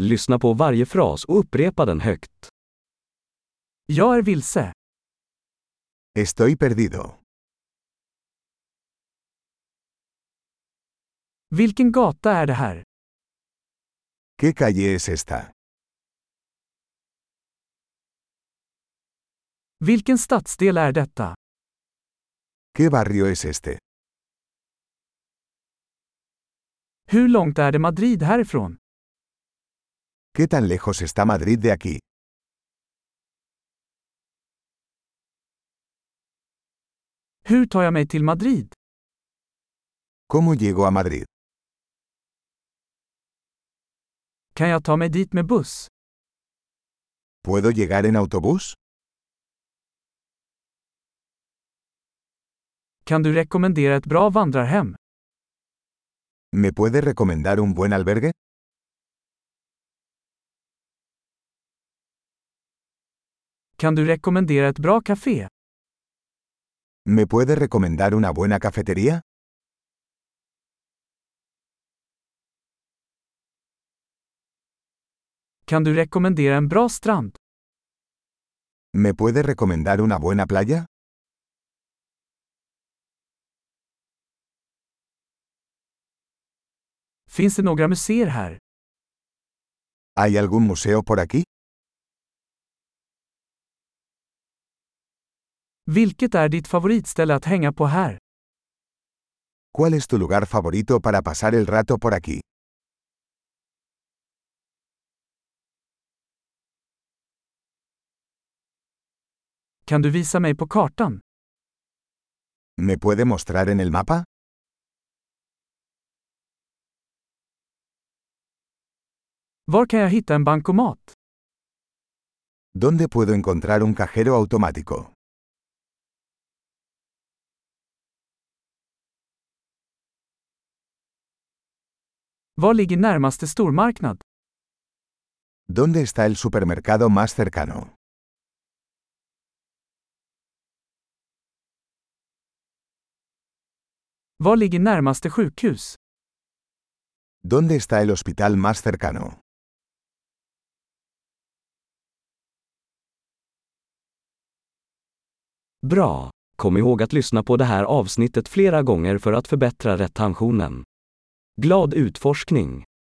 Lyssna på varje fras och upprepa den högt. Jag är vilse. Estoy perdido. Vilken gata är det här? ¿Qué calle es esta? Vilken stadsdel är detta? ¿Qué barrio es este? Hur långt är det Madrid härifrån? ¿Qué tan lejos está Madrid de aquí? Hur tar jag mig till Madrid? ¿Cómo llego a Madrid? Kan jag ta mig dit med buss? ¿Puedo llegar en autobús? Kan du rekommendera ett bra vandrarhem? ¿Me puede recomendar un buen albergue? Kan du rekommendera ett bra café? ¿Me puede recomendar una buena cafetería? Kan du rekommendera en bra strand? ¿Me puede recomendar una buena playa? Finns det några museer här? ¿Hay algún museo por aquí? Vilket är ditt favoritställe att hänga på här? ¿Cuál es tu lugar favorito para pasar el rato por aquí? Kan du visa mig på kartan? ¿Me puede mostrar en el mapa? Var kan jag hitta en bankomat? ¿Dónde puedo encontrar un cajero automático? Var ligger närmaste stormarknad? ¿Dónde está el supermercado más cercano? Var ligger närmaste sjukhus? ¿Dónde está el hospital más cercano? Bra! Kom ihåg att lyssna på det här avsnittet flera gånger för att förbättra retentionen. Glad utforskning!